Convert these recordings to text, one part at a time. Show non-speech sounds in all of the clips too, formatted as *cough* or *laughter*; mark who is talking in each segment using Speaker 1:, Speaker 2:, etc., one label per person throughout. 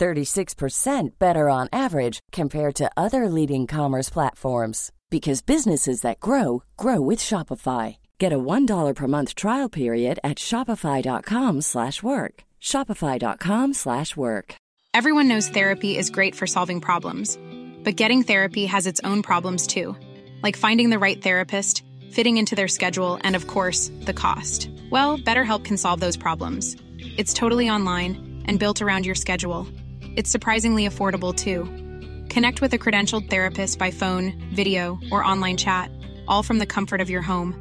Speaker 1: 36% better on average compared to other leading commerce platforms because businesses that grow grow with Shopify. Get a $1 per month trial period at shopify.com/work. shopify.com/work.
Speaker 2: Everyone knows therapy is great for solving problems, but getting therapy has its own problems too, like finding the right therapist, fitting into their schedule, and of course, the cost. Well, BetterHelp can solve those problems. It's totally online and built around your schedule. It's surprisingly affordable too. Connect with a credentialed therapist by phone, video, or online chat, all from the comfort of your home.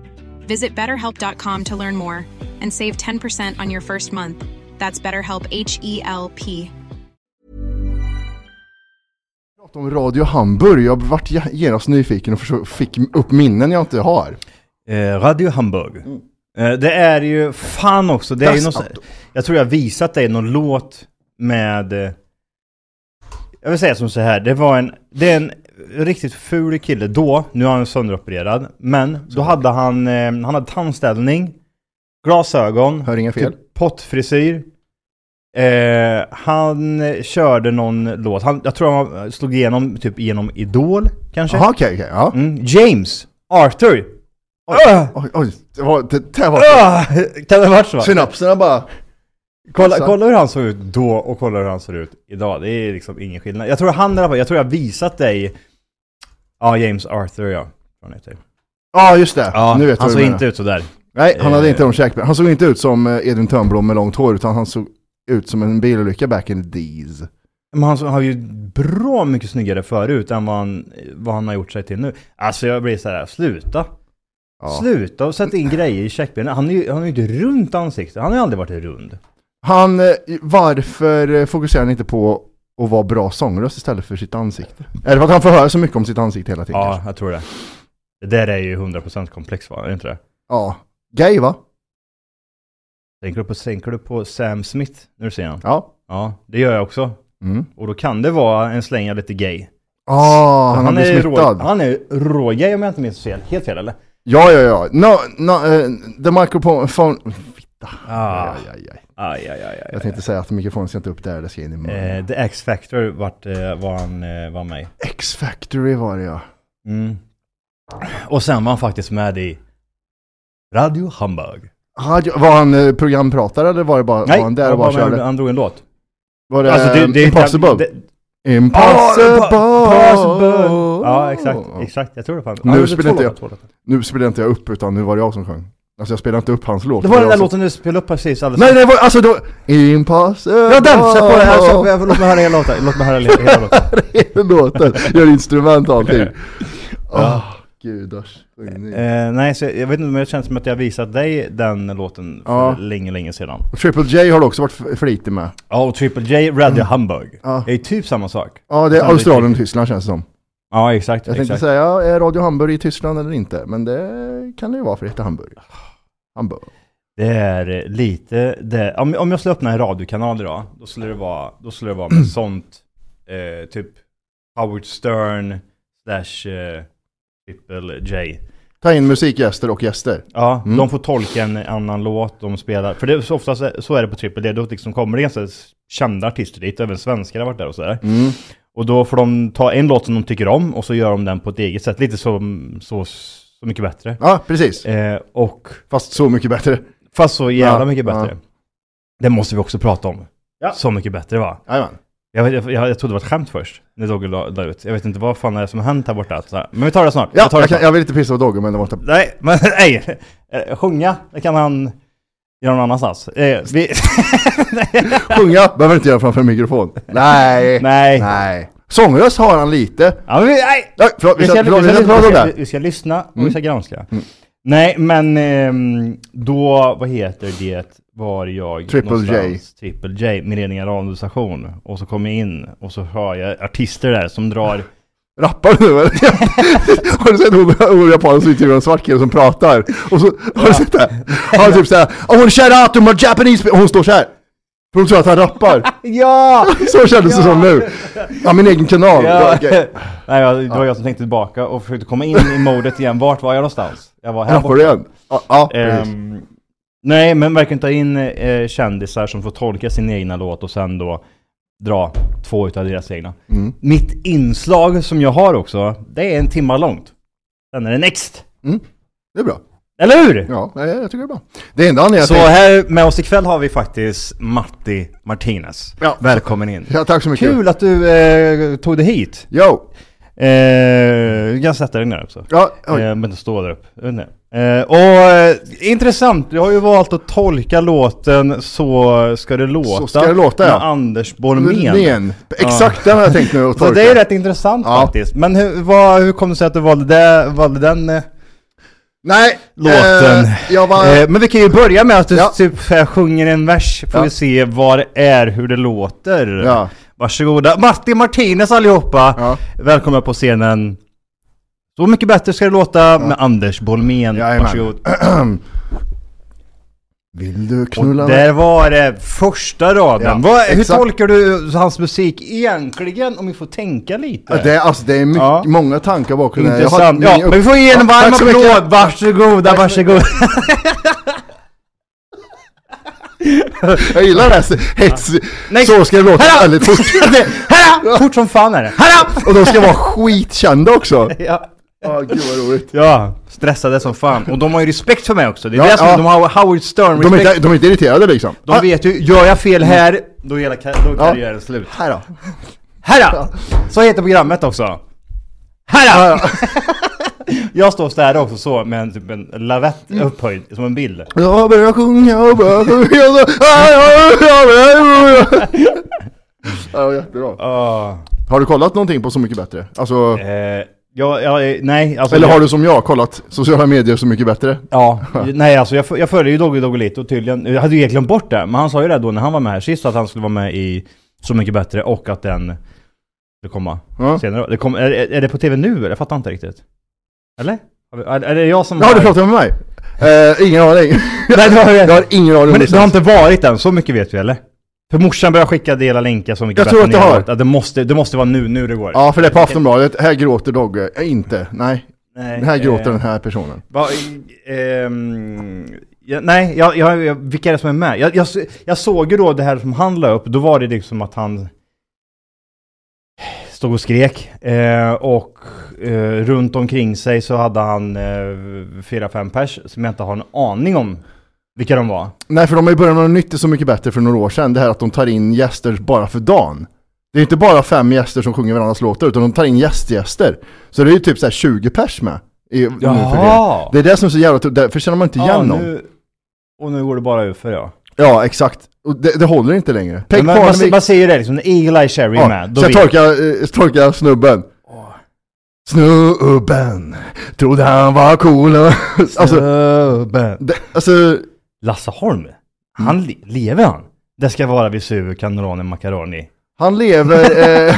Speaker 2: Visit betterhelp.com to learn more and save 10% on your first month. That's BetterHelp H E L P.
Speaker 3: prata om Radio Hamburg. Jag vart ge- genast nyfiken och försö- fick upp minnen jag inte har.
Speaker 4: Eh, Radio Hamburg. Eh, det är ju, fan också, det är ju
Speaker 3: Mm. Das
Speaker 4: något, så-
Speaker 3: Auto.
Speaker 4: Jag tror jag visat dig någon låt med... eh, Jag vill säga som så här, det var en... Det är en riktigt ful kille då, nu är han sönderopererad. Men då hade han, eh, han hade tandställning, glasögon,
Speaker 3: Hör inga fel.
Speaker 4: typ pottfrisyr. Eh, han eh, körde någon låt, han, jag tror han slog igenom typ genom Idol kanske?
Speaker 3: Jaha, okej, okej. Ja.
Speaker 4: Mm, James! Arthur! Öh!
Speaker 3: Oj, oj, det var... Det, det var
Speaker 4: Öh! Kan det ha varit så?
Speaker 3: synapserna bara...
Speaker 4: Kolla,
Speaker 3: Så-
Speaker 4: kolla hur han såg ut då och kolla hur han ser ut idag. Det är liksom ingen skillnad. Jag tror han i alla fall, jag tror jag visat dig... Ja, James Arthur ja. Vad han heter.
Speaker 3: Ja, just det.
Speaker 4: Ja,
Speaker 3: nu vet jag
Speaker 4: han
Speaker 3: vad
Speaker 4: såg
Speaker 3: du
Speaker 4: inte
Speaker 3: menar.
Speaker 4: ut sådär.
Speaker 3: Nej, han hade
Speaker 4: Eh.
Speaker 3: inte de käkbenen. Han såg inte ut som eh, Edvin Törnblom med långt hår, utan han såg ut som en bilolycka back in the days.
Speaker 4: Men han har ju bra mycket snyggare förut än vad han, vad han har gjort sig till nu. Alltså jag blir såhär, sluta!
Speaker 3: Ja.
Speaker 4: Sluta och sätta in grejer i käkbenen. Han är ju han är ju inte runt ansiktet, han har ju aldrig varit rund.
Speaker 3: Han, eh, varför eh, fokuserar han inte på att vara bra sångröst istället för sitt ansikte? Är det för att han får höra så mycket om sitt ansikte hela tiden?
Speaker 4: Ja,
Speaker 3: kanske?
Speaker 4: jag tror det. Det där är ju 100% komplex va, är det inte det?
Speaker 3: ja. Gay va?
Speaker 4: Tänker du på, tänker du på Sam Smith när du ser honom?
Speaker 3: Ja.
Speaker 4: Ja, det gör jag också.
Speaker 3: Mm.
Speaker 4: Och då kan det vara en slänga lite gay.
Speaker 3: Ah, han, har blivit
Speaker 4: är
Speaker 3: smittad.
Speaker 4: Rå, han är rågay om jag inte minns fel. Helt fel eller?
Speaker 3: Ja, ja, ja. No, no, eh, the microphone... Fitta.
Speaker 4: Ah.
Speaker 3: Aj, aj, aj.
Speaker 4: Aj, aj, aj, aj.
Speaker 3: Jag tänkte säga att mikrofonen ska inte upp där, det ska in i munnen.
Speaker 4: Eh, The X-Factor vart, eh, var han eh, var med i.
Speaker 3: X-Factory var det ja.
Speaker 4: mm. Och sen var han faktiskt med i Radio Hamburg.
Speaker 3: Radio, var han eh, programpratare eller var det bara, var han där och bara
Speaker 4: han,
Speaker 3: körde?
Speaker 4: han drog en låt.
Speaker 3: Var det,
Speaker 4: Alltså,
Speaker 3: eh, Impossible?
Speaker 4: det-
Speaker 3: Impossible!
Speaker 4: Impossible! Ja, exakt. Exakt, jag tror det. Fan.
Speaker 3: Nu
Speaker 4: Han gjorde
Speaker 3: spelar
Speaker 4: två
Speaker 3: inte jag.
Speaker 4: låtar, två låtar.
Speaker 3: Nu spelade inte jag upp utan nu var det jag som sjöng. Alltså jag spelade inte upp hans låt.
Speaker 4: Det var den
Speaker 3: jag
Speaker 4: där
Speaker 3: som-
Speaker 4: låten du spelade upp precis alldeles
Speaker 3: Nej, nej, var, alltså då... Impossible!
Speaker 4: Ja den! Sätt på den! Här, sätt på- Låt mig höra hela låten. Låt mig höra hela- hela
Speaker 3: *laughs*
Speaker 4: låten.
Speaker 3: låten, gör instrument och allting. Åh, gudars.
Speaker 4: *laughs* Eh, nej, så jag, jag vet inte, men det känns som att jag visat dig den låten för
Speaker 3: Ja.
Speaker 4: länge, länge sedan.
Speaker 3: Och Triple J har du också varit f- flitig med.
Speaker 4: Ja, och Triple J, Radio Hamburg.
Speaker 3: Mm. Ja.
Speaker 4: Det är typ samma sak.
Speaker 3: Ja, det är
Speaker 4: Sen det-
Speaker 3: Australien och Tyskland känns det som.
Speaker 4: Ja, exakt.
Speaker 3: Jag tänkte
Speaker 4: exakt.
Speaker 3: säga, ja, är Radio Hamburg i Tyskland eller inte? Men det kan det ju vara för det heter Hamburg. Hamburg.
Speaker 4: Det är eh, lite, det, om, om jag skulle öppna en radiokanal idag, då skulle det vara, då skulle det vara
Speaker 3: Mm.
Speaker 4: med sånt, eh, typ Howard Stern slash eh, Triple J.
Speaker 3: Ta in musikgäster och gäster.
Speaker 4: Ja,
Speaker 3: Mm.
Speaker 4: de får tolka en annan låt, de spelar. För det är så ofta så är det på Triple D, då liksom kommer det ganska kända artister dit, även svenskar har varit där och sådär.
Speaker 3: Mm.
Speaker 4: Och då får de ta en låt som de tycker om och så gör de den på ett eget sätt, lite som Så, så mycket bättre.
Speaker 3: Ja, precis.
Speaker 4: Eh, och
Speaker 3: Fast så mycket bättre.
Speaker 4: fast så jävla
Speaker 3: Ja,
Speaker 4: mycket bättre.
Speaker 3: ja.
Speaker 4: Det måste vi också prata om.
Speaker 3: Ja.
Speaker 4: Så mycket bättre va?
Speaker 3: Jajamän.
Speaker 4: Jag, jag, jag, jag trodde det var ett skämt först, när Dogge la, la ut. Jag vet inte vad fan det är som har hänt här borta. Så här. Men vi tar det snart.
Speaker 3: Ja,
Speaker 4: vi tar det
Speaker 3: jag,
Speaker 4: snart.
Speaker 3: kan, jag vill inte pissa på Dogge men det var inte...
Speaker 4: Nej, men *laughs* nej! Eh, Sjunga, det kan han göra någon annanstans. Eh, vi... *laughs*
Speaker 3: Sjunga behöver inte göra framför en mikrofon. Nej.
Speaker 4: Nej.
Speaker 3: Nej. Sångröst har han lite.
Speaker 4: Ja, men vi, nej!
Speaker 3: Nej, förlåt, vi ska, förlåt, vi ska prata om
Speaker 4: vi-
Speaker 3: det.
Speaker 4: vi ska lyssna och vi ska granska. Nej, men ehm, då, vad heter det, var jag
Speaker 3: Triple J.
Speaker 4: någonstans? Triple J, min egen radiostation. Och så kommer jag in och så hör jag artister där som drar
Speaker 3: Rappar du nu eller? *laughs* har du sett Ove Japanen som intervjuar en svart kille som pratar? Och så, har du sett det? Han typ såhär I wanna shout out to my Japanese people! Och hon står såhär! För hon tror att han
Speaker 4: *laughs*
Speaker 3: rappar!
Speaker 4: Ja!
Speaker 3: Så kändes det som nu! Ja, min egen kanal!
Speaker 4: ja.
Speaker 3: Okej.
Speaker 4: *laughs* Nej, jag- det var jag som tänkte tillbaka och försökte komma in i modet igen. Vart var jag någonstans? Jag var här
Speaker 3: Rappar du igen? Ja, ja precis.
Speaker 4: Ehm, nej, men verkligen ta in eh, kändisar som får tolka sin egna låt och sen då dra två utav deras egna.
Speaker 3: Mm.
Speaker 4: Mitt inslag som jag har också, det är en timma långt. Sen är det next.
Speaker 3: Det är bra.
Speaker 4: Eller hur?
Speaker 3: Ja, nej, jag tycker det är bra. Det enda anledningen
Speaker 4: Så
Speaker 3: jag tänkte...
Speaker 4: här med oss ikväll har vi faktiskt Matti Martinez.
Speaker 3: Ja.
Speaker 4: Välkommen in.
Speaker 3: Ja, tack så mycket.
Speaker 4: Kul att du eh, tog dig hit.
Speaker 3: Yo!
Speaker 4: Eh, jag kan sätta dig ner också.
Speaker 3: Ja, oj.
Speaker 4: Eh, men det står där uppe. Jag vet inte. Eh, och eh, intressant, du har ju valt att tolka låten Så ska det låta.
Speaker 3: Så ska det låta, ja.
Speaker 4: Med Anders Bormén.
Speaker 3: Nen. Exakt den har jag tänkt nu att
Speaker 4: *laughs* Så
Speaker 3: torka.
Speaker 4: det är ju rätt intressant
Speaker 3: Ja.
Speaker 4: faktiskt. Men hur, vad, hur kom det sig att du valde, det, valde den eh,
Speaker 3: Nej!
Speaker 4: låten?
Speaker 3: Eh, jag var...
Speaker 4: Eh, men vi kan ju börja med att du
Speaker 3: Ja.
Speaker 4: typ så här sjunger en vers, får
Speaker 3: Ja.
Speaker 4: vi se vad det är, hur det låter.
Speaker 3: Ja.
Speaker 4: Varsågoda. Martin Martinez allihopa!
Speaker 3: Ja.
Speaker 4: Välkomna på scenen. Så mycket bättre ska det låta med Anders Bolmén.
Speaker 3: Jajamän.
Speaker 4: Varsågod.
Speaker 3: Vill du
Speaker 4: Och
Speaker 3: knulla mig?
Speaker 4: där var det första raden.
Speaker 3: Ja,
Speaker 4: Vad, hur
Speaker 3: exakt.
Speaker 4: tolkar du hans musik egentligen? Om vi får tänka lite.
Speaker 3: Ja, Det är, alltså, det är mycket,
Speaker 4: Ja.
Speaker 3: många tankar bakom det här. Jag har-
Speaker 4: Intressant.
Speaker 3: min
Speaker 4: Ja,
Speaker 3: upp-
Speaker 4: men vi får ge en varm
Speaker 3: tack så mycket.
Speaker 4: applåd. Varsågoda,
Speaker 3: Tack så
Speaker 4: varsågoda.
Speaker 3: Jag gillar det här hets...
Speaker 4: Nej.
Speaker 3: Så ska det låta
Speaker 4: Här då!
Speaker 3: väldigt fort.
Speaker 4: *laughs* Här! Fort som fan är det. Här!
Speaker 3: Och de ska vara skitkända också.
Speaker 4: Ja.
Speaker 3: Ja, gud vad roligt.
Speaker 4: Ja, stressade som fan. Och de har ju respekt för mig också. Det är
Speaker 3: Ja,
Speaker 4: det som
Speaker 3: ja.
Speaker 4: de har Howard Stern
Speaker 3: De är,
Speaker 4: respekt.
Speaker 3: inte, de är inte irriterade liksom.
Speaker 4: De vet ju, gör jag fel här, då är hela ka- då är
Speaker 3: Ja.
Speaker 4: karriären slut.
Speaker 3: Här då.
Speaker 4: Här då! Så heter programmet också. Här då! *laughs* Jag står så här också så med en, typ en lavett upphöjd som en bild.
Speaker 3: Jag börjar sjunga och börjar sjunga och så... Ja, ja, ja, ja, ja, ja. Ja, jättebra.
Speaker 4: Ah.
Speaker 3: Har du kollat någonting på Så Mycket Bättre? Alltså,
Speaker 4: Eh, jag, jag, nej, alltså,
Speaker 3: eller
Speaker 4: jag,
Speaker 3: har du som jag kollat sociala medier Så Mycket Bättre?
Speaker 4: Ja, nej alltså jag, föl- jag följer ju Dogge Doggelito tydligen. Jag hade ju egentligen glömt bort det, men han sa ju det då när han var med här sist att han skulle vara med i Så Mycket Bättre och att den skulle komma
Speaker 3: Ja.
Speaker 4: senare. Det kom, är, är det på TV nu eller? Jag fattar inte riktigt. Eller? Har vi- Är, är det jag som
Speaker 3: Ja,
Speaker 4: har...
Speaker 3: du pratar med mig? Eh, ingen aning.
Speaker 4: *laughs* Nej, det har jag.
Speaker 3: Jag har ingen aning om
Speaker 4: Men det,
Speaker 3: det.
Speaker 4: det har inte varit än, så mycket vet vi eller? För morsan börjar skicka dela länkar så mycket
Speaker 3: Jag tror att det har.
Speaker 4: neråt. Att det, måste, det måste vara nu, nu det går.
Speaker 3: Ja, för det är på Aftonbladet. Här gråter Dogge. Eh, Inte. Nej.
Speaker 4: Nej,
Speaker 3: Här gråter
Speaker 4: eh,
Speaker 3: den här personen.
Speaker 4: Va, ehm, ja, nej, jag, jag, jag, vilka är det som är med? Jag, jag, jag såg ju då det här som han la upp, då var det liksom att han stod och skrek eh, och eh, runt omkring sig så hade han eh, fyra, fem pers som jag inte har en aning om vilka de var.
Speaker 3: Nej, för de har ju börjat med något nytt Så Mycket Bättre för några år sedan. Det här att de tar in gäster bara för dagen. Det är inte bara fem gäster som sjunger varandras låtar, utan de tar in gästgäster. Så det är ju typ så här 20 pers med. I, nu för tiden. det är det som är så jävla tufft, därför känner man inte igen
Speaker 4: Ja,
Speaker 3: någon.
Speaker 4: nu, och nu går det bara ut för ja.
Speaker 3: Ja, exakt. Och det, det håller inte längre. Peg
Speaker 4: Men man, man,
Speaker 3: Parnevik...
Speaker 4: man ser ju det liksom, när Eagle-Eye Cherry är med.
Speaker 3: Ja,
Speaker 4: då
Speaker 3: Ah, så jag
Speaker 4: vet-
Speaker 3: tolkar, eh, tolkar snubben. Snubben, trodde han var cool. *laughs* alltså, Mm.
Speaker 4: Snubben.
Speaker 3: det, alltså
Speaker 4: Lasse Holm, han le- lever han? Det ska vara Vesuvio,
Speaker 3: *laughs*
Speaker 4: Cannelloni, Macaroni.
Speaker 3: han lever... Eh,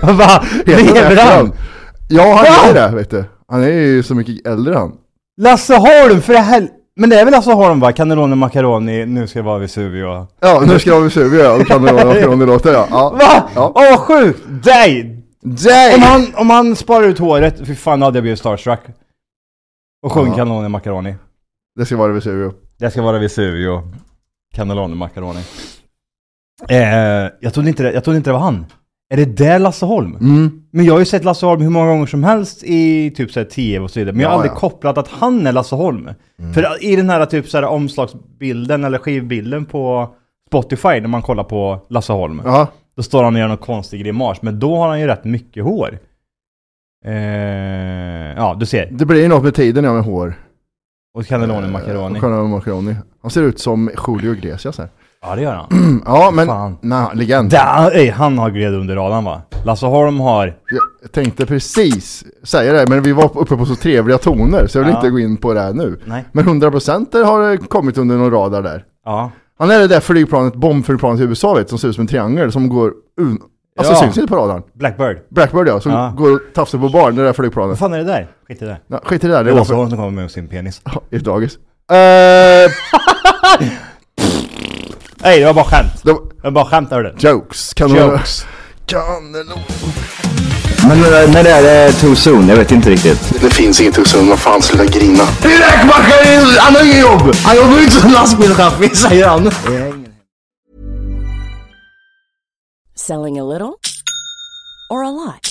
Speaker 3: *laughs*
Speaker 4: Va?
Speaker 3: heter han
Speaker 4: Lever
Speaker 3: efterhand?
Speaker 4: han? Ah!
Speaker 3: Ja, han
Speaker 4: Va?
Speaker 3: gör det, vet du. Han är ju så mycket äldre han.
Speaker 4: Lasse Holm, för hel... Men det är väl Lasse Holm va? Cannelloni, Macaroni, nu ska det vara Vesuvio.
Speaker 3: Ja, nu ska jag vara sur, ja, och kan det vara från det låter, ja. ja.
Speaker 4: Va? Åh,
Speaker 3: Ja.
Speaker 4: sjukt! Nej!
Speaker 3: Dang!
Speaker 4: Om han, om han sparar ut håret, fy fan hade jag blivit starstruck. Och sjung Cannelloni, Macaroni.
Speaker 3: Det ska vara Vesuvio.
Speaker 4: Det ska vara Vesuvio, Cannelloni, Macaroni. Eh, jag, trodde inte det, jag trodde inte det var han. Är det där Lasse Holm?
Speaker 3: Mm.
Speaker 4: Men jag har ju sett Lasse Holm hur många gånger som helst i typ såhär tv och så vidare. Men jag har
Speaker 3: Ja,
Speaker 4: aldrig
Speaker 3: ja. Mm.
Speaker 4: kopplat att han är Lasse Holm. För i den här typ såhär omslagsbilden eller skivbilden på Spotify när man kollar på Lasse Holm.
Speaker 3: Ja,
Speaker 4: Då står han och gör någon konstig grimas. Men då har han ju rätt mycket hår. Eh, ja, du ser.
Speaker 3: det blir ju något med tiden, ja, med hår.
Speaker 4: Och cannelloni macaroni.
Speaker 3: Eh, Och kolla med macaroni. Han ser ut som Julio Iglesias här. *clears throat*
Speaker 4: Ja, det gör han.
Speaker 3: Mm, Ja, men...
Speaker 4: Fan.
Speaker 3: Nej, legend.
Speaker 4: Där, ey, han har gled under radarn va? Lasse Holm har...
Speaker 3: Jag tänkte precis säga det, men vi var uppe på så trevliga toner så jag vill
Speaker 4: Ja.
Speaker 3: inte gå in på det här nu.
Speaker 4: Nej.
Speaker 3: Men 100% har kommit under någon radar där.
Speaker 4: Ja.
Speaker 3: Han är det där flygplanet, bombflygplanet i USA vet, som ser ut som en triangel som går un- Alltså
Speaker 4: Ja.
Speaker 3: syns inte på radarn.
Speaker 4: Blackbird.
Speaker 3: Blackbird ja, som
Speaker 4: Ja.
Speaker 3: går och tafsar på barn, det där flög på
Speaker 4: Vad
Speaker 3: radarn.
Speaker 4: fan är det där? Skit i det.
Speaker 3: Nej, Skit i det där,
Speaker 4: Det
Speaker 3: det
Speaker 4: var
Speaker 3: var
Speaker 4: så
Speaker 3: för...
Speaker 4: hon som kom med sin penis.
Speaker 3: *laughs* I ett dagis. Eh,
Speaker 4: Nej, det var bara skämt.
Speaker 3: det var...
Speaker 4: Det var bara skämt, hörde du.
Speaker 3: Jokes, kan
Speaker 4: Jokes.
Speaker 3: du... Kan du...
Speaker 5: Men eh, när det är det too soon? Jag vet inte riktigt.
Speaker 6: Det finns inget hos honom, vad fan sluta grina.
Speaker 5: Räkmackaren, han har inget jobb! Han jobbar ju inte som lastbilschaffis, säger han.
Speaker 1: Selling a little or a lot?